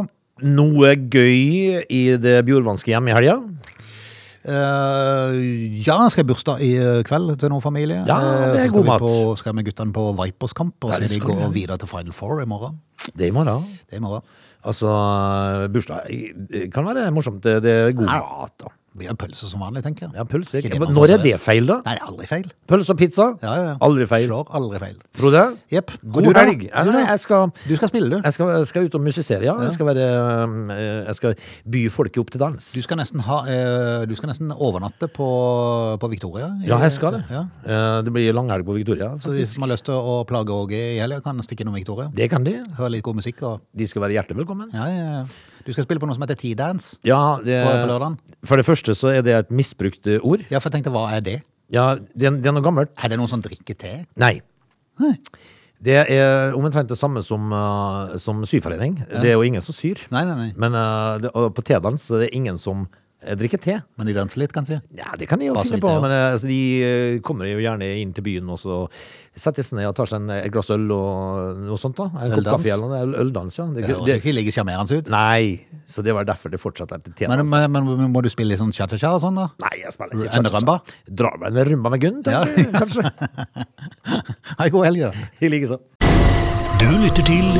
Speaker 2: Noe gøy i det bjorvanske hjem i helga?
Speaker 1: Eh, ja, skal jeg bursdag i eh, kveld til noen familie.
Speaker 2: Ja, det er
Speaker 1: Eh, så skal
Speaker 2: god
Speaker 1: vi
Speaker 2: mat.
Speaker 1: På, skal med guttene på Vipers-kamp, og
Speaker 2: Ja,
Speaker 1: så
Speaker 2: det
Speaker 1: de
Speaker 2: skal vi.
Speaker 1: går videre til Final Four i morgen.
Speaker 2: Det er i morgen.
Speaker 1: Det er i morgen.
Speaker 2: Altså, bursdag det kan være morsomt. Det det er god
Speaker 1: Ja.
Speaker 2: mat, da.
Speaker 1: Det blir jo pølse som vanlig, tenker jeg.
Speaker 2: Ja, pølse.
Speaker 1: Ikke
Speaker 2: Hva-
Speaker 1: man
Speaker 2: Når
Speaker 1: får
Speaker 2: er det feil, da?
Speaker 1: Nei, det er aldri feil.
Speaker 2: Pølse og pizza?
Speaker 1: Ja, ja, ja.
Speaker 2: Aldri feil.
Speaker 1: Slår aldri feil.
Speaker 2: Frode?
Speaker 1: Jepp. Og
Speaker 2: God
Speaker 1: du da?
Speaker 2: helg. Ja,
Speaker 1: Du da?
Speaker 2: nei, jeg skal
Speaker 1: Du skal spille, du.
Speaker 2: jeg skal, jeg skal ut og musisere, ja. Jeg skal, være, um, eh, jeg skal by folket opp til dans.
Speaker 1: Du skal nesten, ha, eh, du skal nesten overnatte på, på Victoria. i-
Speaker 2: Ja, jeg skal det.
Speaker 1: Ja.
Speaker 2: Eh, Det blir langhelg på Victoria.
Speaker 1: Så de som har lyst til å plage Åge i helga, kan stikke innom Victoria.
Speaker 2: Det kan de.
Speaker 1: Høre litt god musikk. Og,
Speaker 2: De skal være hjertelig velkommen.
Speaker 1: ja, ja. ja. Du skal spille på noe som heter T-dance.
Speaker 2: Ja, det,
Speaker 1: Hva er det på lørdagen?
Speaker 2: for det første så er det et misbrukt eh, ord.
Speaker 1: Ja, for jeg tenkte, hva er det?
Speaker 2: Ja, det, er- det er noe gammelt.
Speaker 1: Er det noen som drikker te?
Speaker 2: Nei. Det er omtrent det samme som, eh, som syforening. Det er jo ingen som syr.
Speaker 1: Nei, nei, nei.
Speaker 2: Men eh, det, og på tedans er det ingen som eh, drikker te.
Speaker 1: Men de danser litt, kanskje?
Speaker 2: Ja, det kan de jo
Speaker 1: Bare så
Speaker 2: finne
Speaker 1: vidt
Speaker 2: på,
Speaker 1: det, ja.
Speaker 2: men eh, altså, de eh, kommer jo gjerne inn til byen og så setter seg ned og tar seg en, eh, et glass øl og noe sånt. da. En kopp
Speaker 1: Øldans?
Speaker 2: kaffe eller noe, øldans, ja. altså, Det,
Speaker 1: Det høres jo
Speaker 2: det,
Speaker 1: ikke like sjarmerende ut.
Speaker 2: nei, så det var derfor det fortsatte etter
Speaker 1: Men,
Speaker 2: tjeneste.
Speaker 1: men, men må du spille litt sånn cha-cha-cha og sånn, da?
Speaker 2: Nei, jeg spiller ikke
Speaker 1: En
Speaker 2: cha-cha-cha.
Speaker 1: rumba?
Speaker 2: Drar meg en rumba med Gunn,
Speaker 1: Ja.
Speaker 2: tenker jeg, kanskje.
Speaker 1: Ha en god helg, da.
Speaker 2: I like så.
Speaker 3: Du lytter til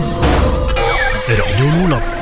Speaker 3: Radio Nordland.